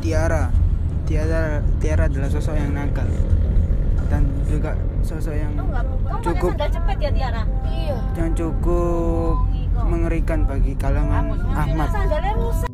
Tiara. Tiara Tiara adalah sosok yang nakal dan juga sosok yang Kamu nggak kamu pakai Cukup. sandal cepet ya Tiara? Iya. yang cukup mengerikan bagi kalangan Ahmad. Sandalnya rusak.